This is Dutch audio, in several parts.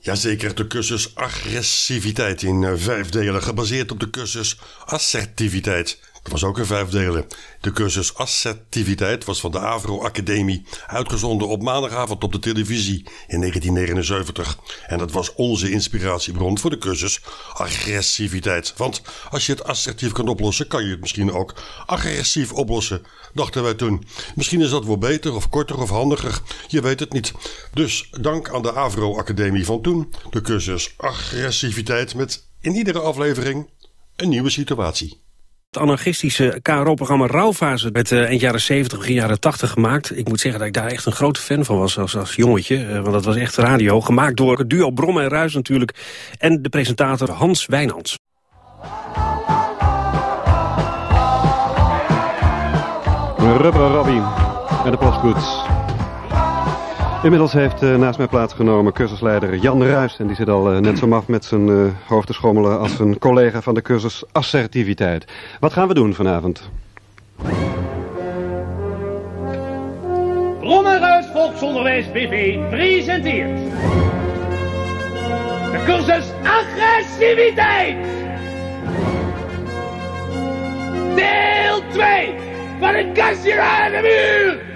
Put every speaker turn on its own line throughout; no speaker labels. Jazeker, de cursus agressiviteit in eh, vijf delen, gebaseerd op de cursus assertiviteit. Dat was ook in vijf delen. De cursus assertiviteit was van de Avro Academie, uitgezonden op maandagavond op de televisie in 1979. En dat was onze inspiratiebron voor de cursus agressiviteit. Want als je het assertief kan oplossen, kan je het misschien ook agressief oplossen, dachten wij toen. Misschien is dat wel beter of korter of handiger, je weet het niet. Dus dank aan de Avro Academie van toen, de cursus agressiviteit met in iedere aflevering een nieuwe situatie.
Het anarchistische KRO-programma Rauwfase werd eh, eind jaren 70, begin jaren 80 gemaakt. Ik moet zeggen dat ik daar echt een grote fan van was als, als jongetje. eh, want dat was echt radio. Gemaakt door het duo Brom en Ruis natuurlijk. En de presentator Hans Wijnands.
Rubber Robbie en de postkoets. Inmiddels heeft eh, naast mij plaatsgenomen cursusleider Jan Ruijs. En die zit al eh, net zo maf met zijn eh, hoofd te schommelen als zijn collega van de cursus Assertiviteit. Wat gaan we doen vanavond?
Blommenruis Volksonderwijs BV presenteert. De cursus Agressiviteit. Deel 2 van het kastje aan de muur.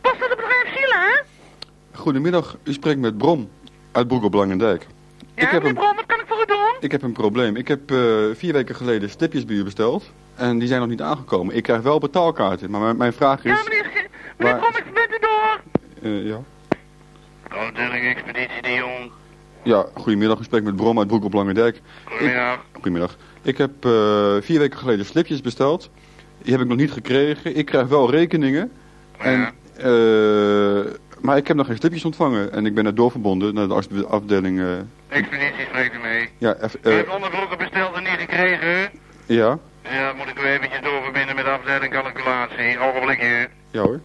Was dat de bedrijf Gila?
Goedemiddag, u spreekt met Brom uit Broek op Langendijk.
Ja,
ik, heb
meneer
een,
Brom, wat kan ik voor u doen?
ik heb een probleem. Ik heb eh, vier weken geleden stipjes bij u besteld en die zijn nog niet aangekomen. Ik krijg wel betaalkaarten, maar mijn, mijn vraag
Ja,
Dus-
is...
meneer, G- meneer
Waar-
Brom, ik ben u door.
eh, ja.
Expeditie de Jong.
ja, goedemiddag, u spreekt met Brom uit Broek op Langendijk.
Goedemiddag.
Goedemiddag. Ik heb eh, vier weken geleden slipjes besteld. Die heb ik nog niet gekregen. Ik krijg wel rekeningen. En, eh, maar ik heb nog geen slipjes ontvangen. En ik ben naar doorverbonden, naar de afde- afdeling... eh,
Expeditie spreekt u mee.
ja, F-
U
eh,
heeft onderbroeken besteld en niet gekregen.
ja,
Ja, moet ik u eventjes doorverbinden met de afdeling calculatie. Ogenblikje.
ja hoor.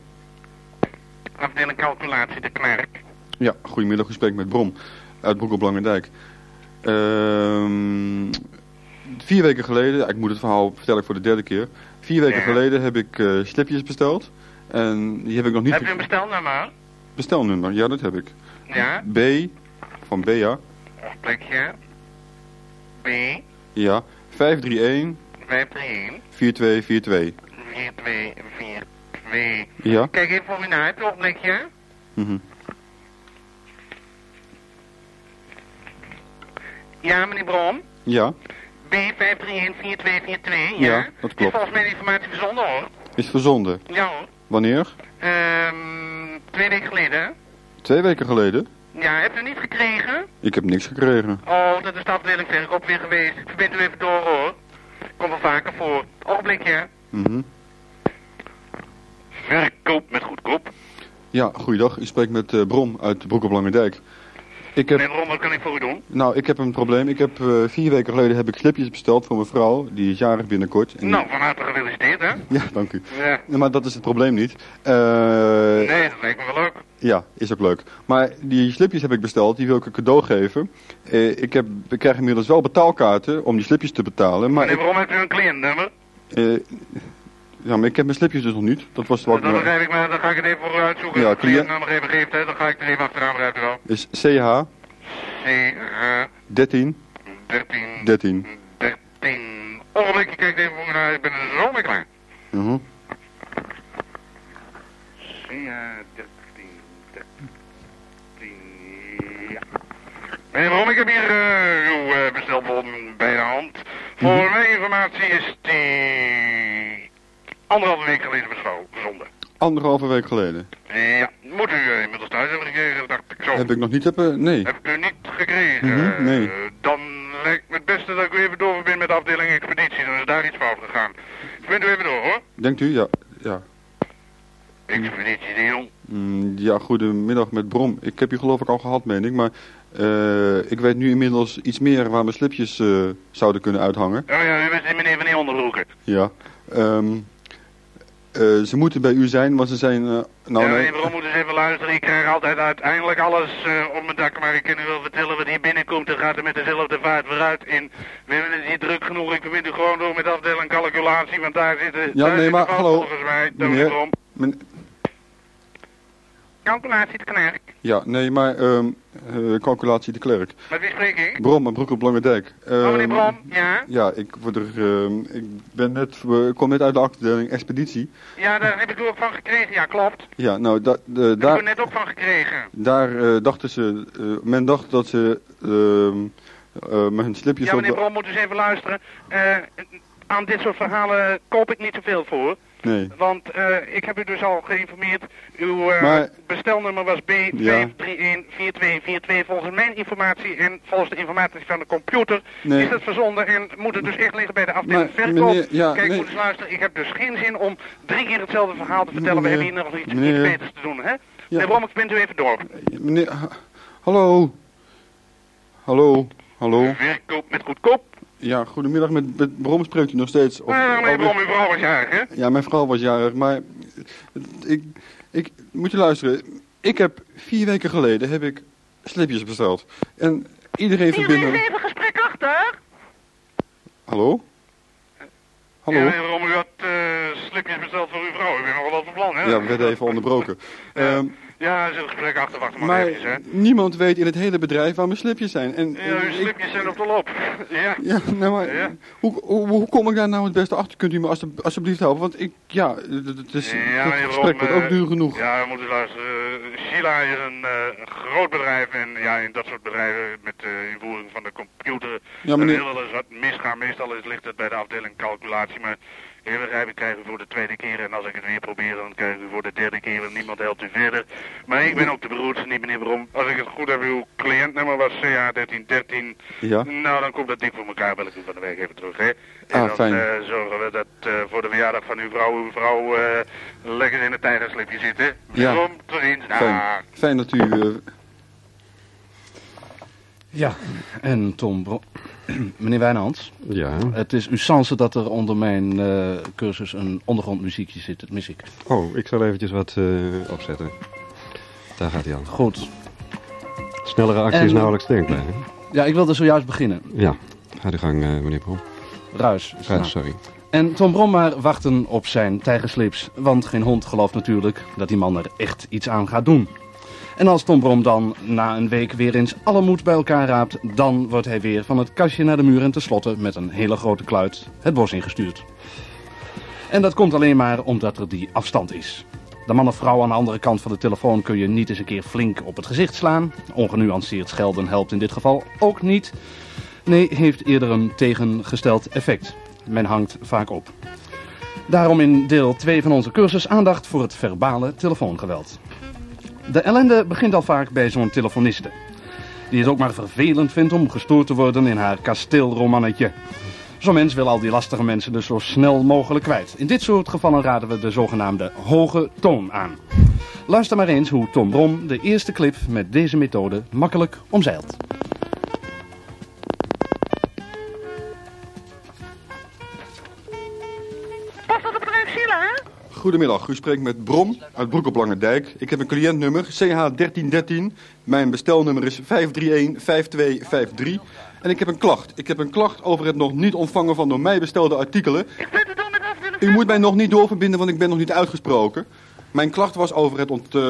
Afdeling calculatie, de klerk.
Ja, goedemiddag, u spreekt met Brom uit Broek op Langendijk. Ehm, vier weken geleden, ik moet het verhaal vertellen voor de derde keer. Vier weken
Ja.
geleden heb ik eh, slipjes besteld. En die heb ik nog niet...
Hebt u een
ge-
bestelnummer?
Bestelnummer, ja dat heb ik.
Ja.
B, van Bea,
Plekje. B.
ja, 531
531
4242.
4242.
Ja,
Kijk even voor me naar het ogenblikje.
mhm.
Ja, meneer Brom.
ja,
B5314242, ja?
Ja, dat
Is
klopt.
volgens mij de informatie verzonden hoor.
is verzonden.
Ja hoor.
Wanneer?
Ehm, twee weken geleden.
Twee weken geleden.
Ja, hebt u niet gekregen?
Ik heb niks gekregen.
Oh, dat is de afdeling verkoop weer geweest. Ik verbind u even door hoor. Komt wel vaker voor. Ogenblikje.
Mhm.
Verkoop met goedkoop.
Ja, goeiedag, u spreekt met eh, Brom uit Broek op Langendijk. Ik heb...
Meneer Brom, wat kan ik voor u doen?
Nou, ik heb een probleem. Ik heb eh, vier weken geleden heb ik slipjes besteld voor mijn vrouw. Die is jarig binnenkort. En die-
Nou, van harte gefeliciteerd hè.
Ja, dank u.
Ja.
Ja, maar dat is het probleem niet. Eh,
Nee, dat lijkt me wel leuk.
Ja, is ook leuk. Maar die slipjes heb ik besteld. Die wil ik een cadeau geven. Eh, ik, heb, ik krijg inmiddels wel betaalkaarten om die slipjes te betalen. Maar,
Meneer
ik,
Brom, hebt u een cliëntnummer?
eh, ja, maar ik heb mijn slipjes dus nog niet. Dat was wat.
Dat begrijp ik, maar dan ga ik het even voor u uitzoeken.
Ja,
Als de
kun je-
cliënt nou nog even geeft, hè, dan ga ik er even achteraan rijden wel.
Is CH
CH13,
13 13.
13. Ogenblikje, kijk even voor me naar, ik ben er zo mee klaar.
Mhm.
CH13, 13, ja. Meneer Brom, ik heb hier eh, uw eh, bestelbon bij de hand. Voor mijn informatie is die anderhalve week geleden besloten, zonde.
Anderhalve week geleden.
Ja, moet u eh, inmiddels thuis hebben gekregen, dacht ik zo.
Heb ik nog niet hebben? Nee.
Heb ik u niet gekregen?
Mhm, nee.
Eh, Dan lijkt me het beste dat ik u even doorverbind met de afdeling expeditie. Dan is daar iets fout gegaan. Vindt u even door hoor.
Denkt u? Ja. Ja. Mhm.
Expeditie de Jong.
Mm, Ja, goedemiddag met Brom. Ik heb je geloof ik al gehad, meen ik. Maar eh, ik weet nu inmiddels iets meer waar mijn slipjes eh, zouden kunnen uithangen.
Oh ja, u bent die meneer van die onderbroeken.
Ja. Ehm, eh, ze moeten bij u zijn, want ze zijn... eh, nou,
ja,
nee.
nee, waarom moet eens even luisteren? Ik krijg altijd uiteindelijk alles eh, op mijn dak. Maar ik kan u wel vertellen wat hier binnenkomt. Dan gaat er met dezelfde vaart vooruit. in. we hebben het hier druk genoeg. Ik verbind u gewoon door met afdeling calculatie. Want daar zitten.
Ja,
daar
nee,
zitten
maar
vast
hallo,
Volgens mij. Daar moet
meneer.
ik om.
Men-
Calculatie te knagen.
ja, nee, maar ehm, eh, calculatie de klerk.
Met wie spreek ik?
Brom, Broek op Langendijk.
Oh,
Ehm,
meneer Brom, ja?
Ja, ik, word er, ehm, ik ben net, eh, ik kom net uit de afdeling expeditie.
Ja, daar heb ik u ook van gekregen. Ja, klopt. Daar
Ja, nou, da, de-
heb ik u
daar,
net ook van gekregen.
daar eh, dachten ze, eh, men dacht dat ze ehm eh, met hun slipjes
Ja,
op
meneer
de...
Brom, moet u eens even luisteren. Eh, aan dit soort verhalen koop ik niet zoveel voor.
Nee,
Want eh, ik heb u dus al geïnformeerd. Uw eh,
Maar-
bestelnummer was B5314242. Volgens mijn informatie en volgens de informatie van de computer
Nee.
is dat verzonden en moet het dus echt liggen bij de afdeling
Maar,
verkoop.
meneer, ja,
Kijk,
nee.
moet eens luisteren. Ik heb dus geen zin om drie keer hetzelfde verhaal te vertellen.
Meneer,
We hebben hier nog iets,
meneer.
iets beters te doen, hè? Meneer Brom, ik bent u even door.
meneer, ha- hallo. Hallo, hallo.
Verkoop met goedkoop.
Ja, goedemiddag, met, met Brom spreekt u nog steeds. Of-
Eh, meneer
alweer-
Brom, uw vrouw was jarig, hè?
Ja, mijn vrouw was jarig, maar ik, ik moet je luisteren. Ik heb vier weken geleden heb ik slipjes besteld. En iedereen
Hier is
verbindde.
even gesprek achter.
Hallo? Hallo?
Ja, meneer Brom, u had eh, slipjes besteld voor uw vrouw. U bent nogal wat van plan, hè?
Ja, we werden even onderbroken. Ehm,
Ja, zit het gesprek achter, wacht maar,
maar
eventjes, hè?
niemand weet in het hele bedrijf waar mijn slipjes zijn. En,
Ja, uw
en ik,
slipjes zijn op de loop. Ja.
ja, nou maar,
Ja.
Hoe, hoe, hoe kom ik daar nou het beste achter? Kunt u me alsje- alsjeblieft helpen? Want ik, ja, het het is, het
meneer Rom,
gesprek wordt
eh,
ook duur genoeg.
Ja, we moeten luisteren. Eh, Sheila is een eh, groot bedrijf en ja, in dat soort bedrijven met de invoering van de computer
Ja, meneer-
er wil wel eens wat misgaan. Meestal is, ligt het bij de afdeling calculatie, maar eh, heel begrijp ik krijg u voor de tweede keer en als ik het weer probeer dan krijg u voor de derde keer en niemand helpt u verder. Maar ik ben ook de beroerdste niet, meneer Brom. Als ik het goed heb, uw cliëntnummer was CA1313.
Ja.
Nou, dan komt dat dik voor elkaar, bel ik u van de week even terug, hè. En
Ah,
dan
fijn.
eh, zorgen we dat eh, voor de verjaardag van uw vrouw, uw vrouw eh, lekker in het tijgerslipje zitten.
Ja.
Kom, tot ziens. Dag.
Fijn, fijn dat u... eh,
Ja, en Tom Bro- Meneer Wijnands,
Ja.
het is uw chance dat er onder mijn eh, cursus een ondergrondmuziekje zit, dat mis ik.
Oh, ik zal eventjes wat eh, opzetten. Daar gaat hij al.
Goed.
Snellere actie is
En-
nauwelijks denkbaar. hè?
Ja, ik wilde zojuist beginnen.
Ja, gaat u gang, eh, meneer Brom.
Ruis. is de
Ga,
naam.
sorry.
En Tom Brommaar wachten op zijn tijgerslips, want geen hond gelooft natuurlijk dat die man er echt iets aan gaat doen. En als Tom Brom dan na een week weer eens alle moed bij elkaar raapt, dan wordt hij weer van het kastje naar de muur en tenslotte met een hele grote kluit het bos ingestuurd. En dat komt alleen maar omdat er die afstand is. De man of vrouw aan de andere kant van de telefoon kun je niet eens een keer flink op het gezicht slaan. Ongenuanceerd schelden helpt in dit geval ook niet. Nee, heeft eerder een tegengesteld effect. Men hangt vaak op. Daarom in deel 2 van onze cursus aandacht voor het verbale telefoongeweld. De ellende begint al vaak bij zo'n telefoniste. Die het ook maar vervelend vindt om gestoord te worden in haar kasteelromannetje. Zo'n mens wil al die lastige mensen dus zo snel mogelijk kwijt. In dit soort gevallen raden we de zogenaamde hoge toon aan. Luister maar eens hoe Tom Brom de eerste clip met deze methode makkelijk omzeilt.
Pas dat het bedrijf Sheila, hè?
Goedemiddag, u spreekt met Brom uit Broek op Lange Dijk. Ik heb een cliëntnummer, CH1313. Mijn bestelnummer is 531-5253. En ik heb een klacht. Ik heb een klacht over het nog niet ontvangen van door mij bestelde artikelen.
Ik ben het door met afdeling
U moet mij nog niet doorverbinden, want ik ben nog niet uitgesproken. Mijn klacht was over het ont, eh,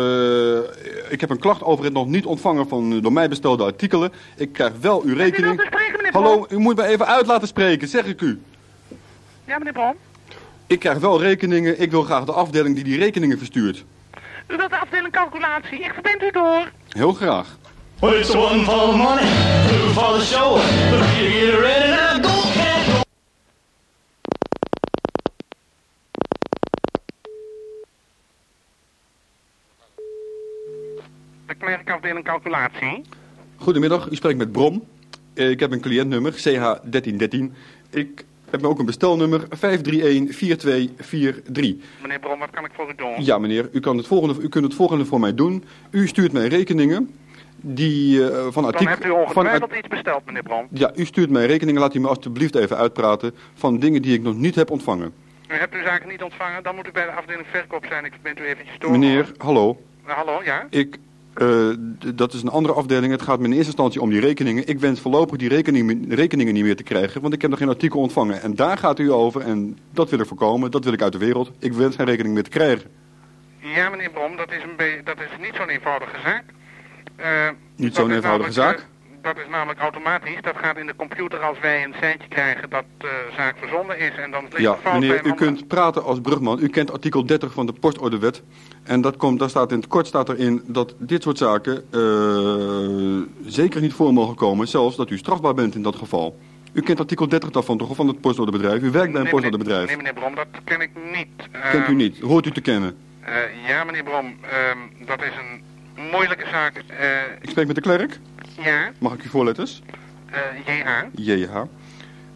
ik heb een klacht over het nog niet ontvangen van eh, door mij bestelde artikelen. Ik krijg wel uw
Met wie wilt u
rekening.
spreken, meneer Brom?
Hallo, u moet mij even uit laten spreken, zeg ik u.
Ja, meneer Brom.
Ik krijg wel rekeningen. Ik wil graag de afdeling die die rekeningen verstuurt.
U wilt de afdeling calculatie. Ik verbind u door.
Heel graag.
Well, it's one for the money, two for the show, three to get ready now, go, cat, go.
De klerkafdeling calculatie.
Goedemiddag, u spreekt met Brom. Eh, Ik heb een cliëntnummer, CH1313. Ik heb ook een bestelnummer, 531-4243.
Meneer Brom, wat kan ik voor u doen?
Ja, meneer, u, kan het volgende, u kunt het volgende voor mij doen. U stuurt mij rekeningen die eh, van
Dan
artikelen...
hebt u ongetwijfeld iets besteld, meneer Brom.
Ja, u stuurt mij rekeningen, laat u me alstublieft even uitpraten... van dingen die ik nog niet heb ontvangen.
U hebt uw zaken niet ontvangen, dan moet u bij de afdeling verkoop zijn. Ik ben u eventjes door.
Meneer, hallo.
Nou, hallo, ja?
Ik, eh, d- dat is een andere afdeling. Het gaat me in eerste instantie om die rekeningen. Ik wens voorlopig die rekening, rekeningen niet meer te krijgen, want ik heb nog geen artikel ontvangen. En daar gaat u over en dat wil ik voorkomen. Dat wil ik uit de wereld. Ik wens geen rekening meer te krijgen.
Ja, meneer Brom, dat is, een be- dat is niet zo'n eenvoudige zaak. Eh,
Niet
dat
zo'n
is
eenvoudige
namelijk,
zaak?
eh, dat is namelijk automatisch. Dat gaat in de computer als wij een seintje krijgen dat de zaak verzonden is. En dan ligt
Ja,
de fout bij
meneer,
een
u
ander.
kunt praten als brugman. U kent artikel 30 van de postorderwet. En dat komt, daar staat in het kort staat erin dat dit soort zaken eh, zeker niet voor mogen komen. Zelfs dat u strafbaar bent in dat geval. U kent artikel 30 daarvan toch, van het postorderbedrijf? U werkt bij een
Nee, meneer-
postorderbedrijf.
Nee, meneer Brom, dat ken ik niet. Eh,
Kent u niet, hoort u te kennen.
eh, ja, meneer Brom, ehm, dat is een moeilijke zaak. Eh,
Ik spreek met de klerk.
ja,
Mag ik uw voorletters?
eh, JH.
JH.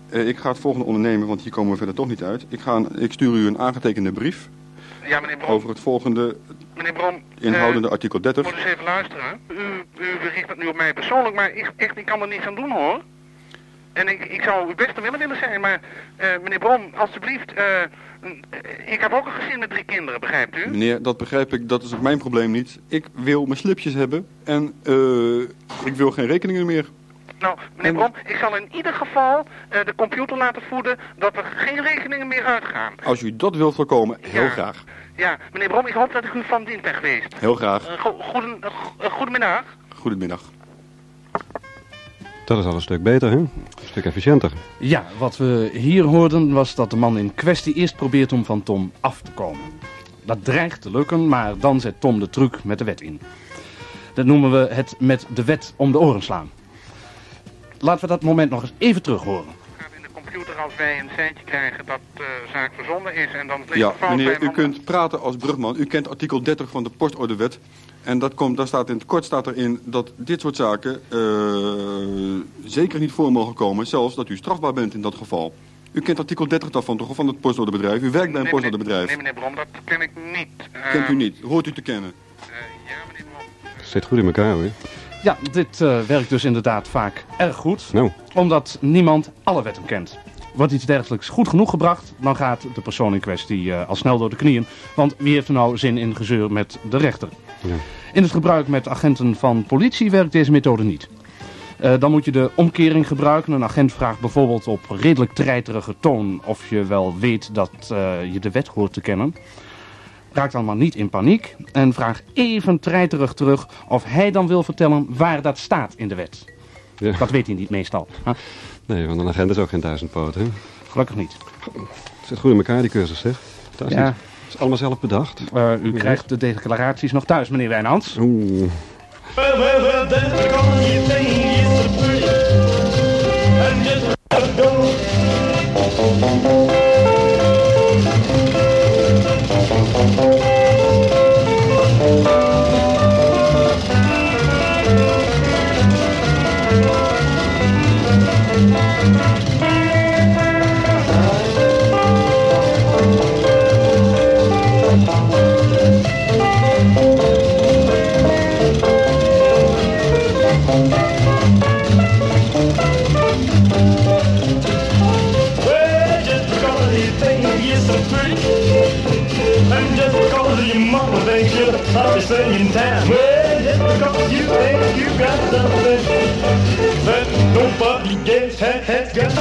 Eh, ik ga het volgende ondernemen, want hier komen we verder toch niet uit. Ik, ga een- ik stuur u een aangetekende brief
Ja, meneer Brom.
over het volgende
Meneer Brom, eh,
inhoudende artikel 30.
moet eens even luisteren. U, u bericht het nu op mij persoonlijk, maar ik, echt, ik kan er niets aan doen hoor. En ik, ik zou uw beste willen willen zijn, maar eh, meneer Brom, alstublieft, eh, n- eh, ik heb ook een gezin met drie kinderen, begrijpt u?
Meneer, dat begrijp ik, dat is ook mijn probleem niet. Ik wil mijn slipjes hebben en eh, ik wil geen rekeningen meer.
Nou, meneer Brom, ik zal in ieder geval eh, de computer laten voeden dat er geen rekeningen meer uitgaan.
Als u dat wilt voorkomen, heel
Ja.
graag.
Ja, meneer Brom, ik hoop dat ik u van dienst ben geweest.
Heel graag.
Eh, go- goeden, eh, go- eh, goedemiddag.
Goedemiddag.
Dat is al een stuk beter, hè? Een stuk efficiënter.
Ja, wat we hier hoorden was dat de man in kwestie eerst probeert om van Tom af te komen. Dat dreigt te lukken, maar dan zet Tom de truc met de wet in. Dat noemen we het met de wet om de oren slaan. Laten we dat moment nog eens even terug horen.
Gaat in de computer als wij een seintje krijgen dat de zaak verzonden is en dan ligt
Ja,
de fout bij
meneer,
een
u
ander.
kunt praten als brugman. U kent artikel 30 van de postorderwet. En dat komt, daar staat in het kort staat erin dat dit soort zaken eh, zeker niet voor mogen komen. Zelfs dat u strafbaar bent in dat geval. U kent artikel 30 daarvan toch, van het postorderbedrijf? U werkt bij een
Nee, meneer-
postorderbedrijf.
Nee, meneer Brom, dat ken ik niet. Eh,
Kent u niet, hoort u te kennen.
eh, ja, meneer Brom.
Zit goed in elkaar, hoor.
Ja, dit eh, werkt dus inderdaad vaak erg goed,
Nou,
omdat niemand alle wetten kent. Wordt iets dergelijks goed genoeg gebracht, dan gaat de persoon in kwestie eh, al snel door de knieën. Want wie heeft er nou zin in gezeur met de rechter?
Ja.
In het gebruik met agenten van politie werkt deze methode niet. Eh, dan moet je de omkering gebruiken. Een agent vraagt bijvoorbeeld op redelijk treiterige toon of je wel weet dat eh, je de wet hoort te kennen. Raak dan maar niet in paniek en vraag even treiterig terug of hij dan wil vertellen waar dat staat in de wet.
Ja.
Dat weet hij niet meestal. Huh?
nee, want een agent is ook geen duizendpoot, hè?
Gelukkig niet.
Zit goed in elkaar, die cursus, zeg. Fantastisch.
Ja.
is allemaal zelf bedacht.
Eh, u krijgt de declaraties nog thuis, meneer Wijnands.
Oeh.
Well, well, well, that's the color you think is so pretty. And just let it go. Well, just because you think you're so pretty, and just because your mama thinks you're stop you singing time. Well, just because you think you got something that nobody else ha- has got,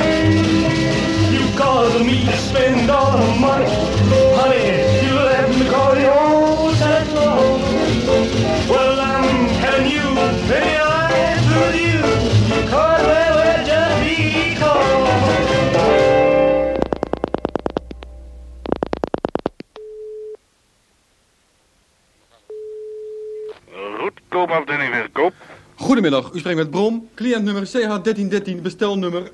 you causing me to spend all the money, honey. You left me call the old time long. Well, I'm having you, baby, I'm through you. Cause well, well, just because.
Goed, koopafdeling verkoop.
Goedemiddag, u spreekt met Brom, cliëntnummer CH1313, bestelnummer 531-4243.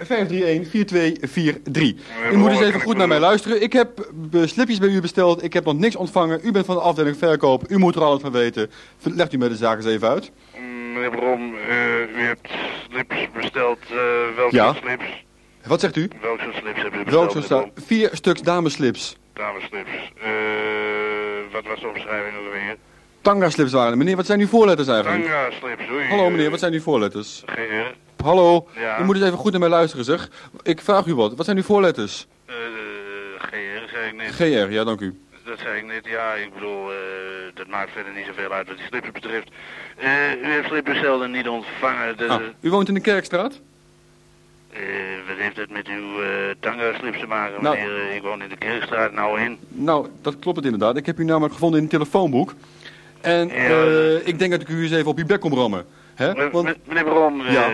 U moet eens even goed naar mij luisteren. Ik heb eh, slipjes bij u besteld, ik heb nog niks ontvangen. U bent van de afdeling verkoop, u moet er alles van weten. Legt u mij de zaak eens even uit.
Mm, Meneer Brom, eh, u hebt slips besteld. eh, welke
Ja.
slips?
Wat zegt u?
Welke slips hebben u besteld?
Welk soort
meneer
sta-
Brom?
Vier stuks dameslips.
Dameslips. Eh, wat was de omschrijving ook alweer?
Tanga slips waren er. Meneer, wat zijn uw voorletters eigenlijk?
Tanga slips, oei.
Hallo meneer, wat zijn uw voorletters?
Eh,
GR.
Hallo,
Ja.
u moet eens even goed naar mij luisteren zeg. Ik vraag u wat, wat zijn uw voorletters?
Eh, GR, zei
zei ik net.
GR, ja, dank u.
Dat zei ik net, ja, ik bedoel, eh, dat maakt verder niet zoveel uit wat die slippers betreft. Eh, u heeft slippers zelden niet ontvangen. Dat,
Ah, u woont in de Kerkstraat?
eh, eh, wat heeft dat met uw eh tanga-slips te maken,
Nou.
meneer? Eh, ik woon in de Kerkstraat, nou in.
Nou, dat klopt het inderdaad. Ik heb u namelijk gevonden in een telefoonboek. En eh, ik denk dat ik u eens even op uw bek kom rammen. Hè?
Eh,
Want,
me- Meneer Bron, eh,
Ja.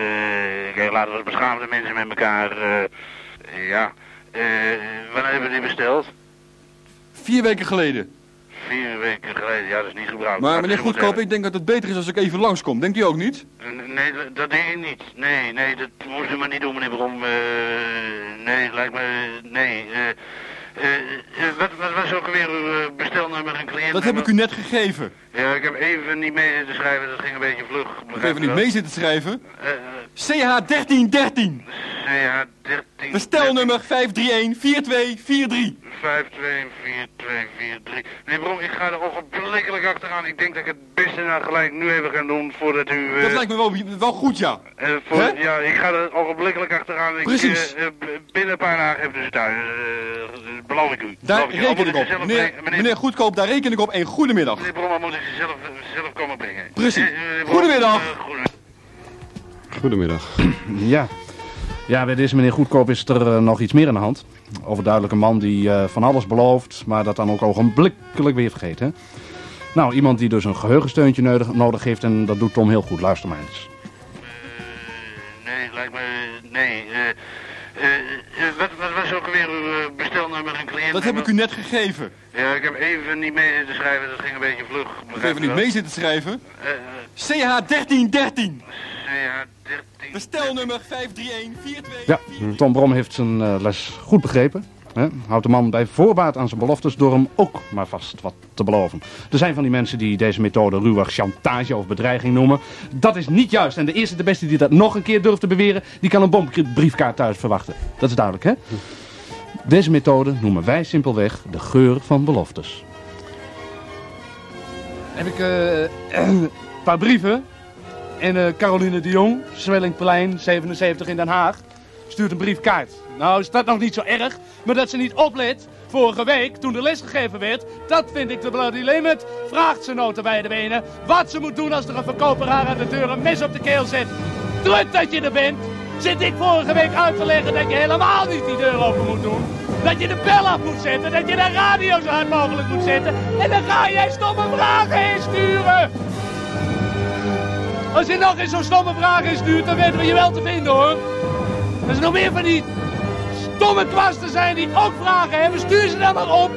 kijk, laten we als beschaamde mensen met elkaar, eh, eh, ja. Eh, wanneer hebben we die besteld?
vier weken geleden.
Vier weken geleden, ja, dat is niet gebruikt.
Maar meneer
Absoluut,
Goedkoop,
hè.
ik denk dat het beter is als ik even langskom. Denkt u ook niet?
N- Nee, dat- dat denk ik niet. Nee, nee, dat moest u maar niet doen, meneer Brom. Eh, nee, lijkt me... Nee. eh, eh, eh, wat, wat was ook alweer uw eh, bestelnummer en cliënt?
Dat heb ik u net gegeven.
Ja, ik heb even niet mee zitten schrijven, dat ging een beetje vlug.
Ik heb even niet mee zitten schrijven.
Uh,
CH1313.
CH 13...
Bestelnummer 531-4243.
524243. Meneer Brom, ik ga er ogenblikkelijk achteraan. Ik denk dat ik het beste naar gelijk nu even ga doen voordat u... eh,
Dat lijkt me wel, wel goed, ja.
Eh, voor,
Hè?
ja, ik ga er ogenblikkelijk achteraan. Ik,
Precies.
eh, eh, b- binnen een paar dagen hebben ze het uit. Eh, eh, beloof ik u. Beloof
Daar
ik u. Al
reken ik
moet
op.
ze zelf
Meneer,
brengen.
meneer Goedkoop, daar reken ik op. En goedemiddag.
meneer Brommer moet ik ze zelf, zelf komen brengen.
Precies.
Eh, eh, meneer Brom,
Goedemiddag.
eh, goedemiddag.
Goedemiddag.
Ja. Ja, bij deze meneer Goedkoop is er eh, nog iets meer aan de hand. Overduidelijk een man die eh, van alles belooft, maar dat dan ook ogenblikkelijk weer vergeet. Hè? Nou, iemand die dus een geheugensteuntje nodig, nodig heeft en dat doet Tom heel goed. Luister maar eens.
Eh, nee, lijkt me... Nee. eh, eh, eh, wat, wat was ook alweer uw eh, bestelnummer en cliënt?
Dat heb ik u net gegeven.
Ja, ik heb even niet mee te schrijven. Dat ging een beetje vlug.
Ik heb even
eh,
niet mee zitten schrijven.
Uh,
CH1313.
ja, 13...
Bestelnummer 531-4243.
Ja, Tom Brom heeft zijn eh, les goed begrepen. Hè? Houdt de man bij voorbaat aan zijn beloftes door hem ook maar vast wat te beloven. Er zijn van die mensen die deze methode ruwweg chantage of bedreiging noemen. Dat is niet juist. En de eerste de beste die dat nog een keer durft te beweren, die kan een bombriefkaart thuis verwachten. Dat is duidelijk, hè? Deze methode noemen wij simpelweg de geur van beloftes. Heb ik eh, een paar brieven. En eh, Caroline de Jong, Zwellingplein 77 in Den Haag stuurt een briefkaart. Nou is dat nog niet zo erg, maar dat ze niet oplet vorige week toen de les gegeven werd, dat vind ik de bloody limit. Vraagt ze nota bij de benen wat ze moet doen als er een verkoper haar aan de deur een mes op de keel zet. Druk dat je er bent. Zit ik vorige week uit te leggen dat je helemaal niet die deur open moet doen. Dat je de bel af moet zetten, dat je de radio zo hard mogelijk moet zetten. En dan ga jij stomme vragen insturen. Als je nog eens zo'n stomme vraag instuurt, dan weten we je wel te vinden hoor. Dat is nog meer van die stomme kwasten zijn die ook vragen hebben. Stuur ze dan maar op.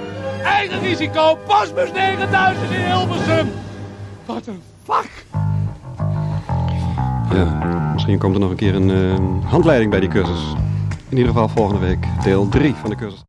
Eigen risico. Postbus 9000 in Hilversum. Wat een fuck.
Ja, misschien komt er nog een keer een eh, handleiding bij die cursus. In ieder geval volgende week deel 3 van de cursus.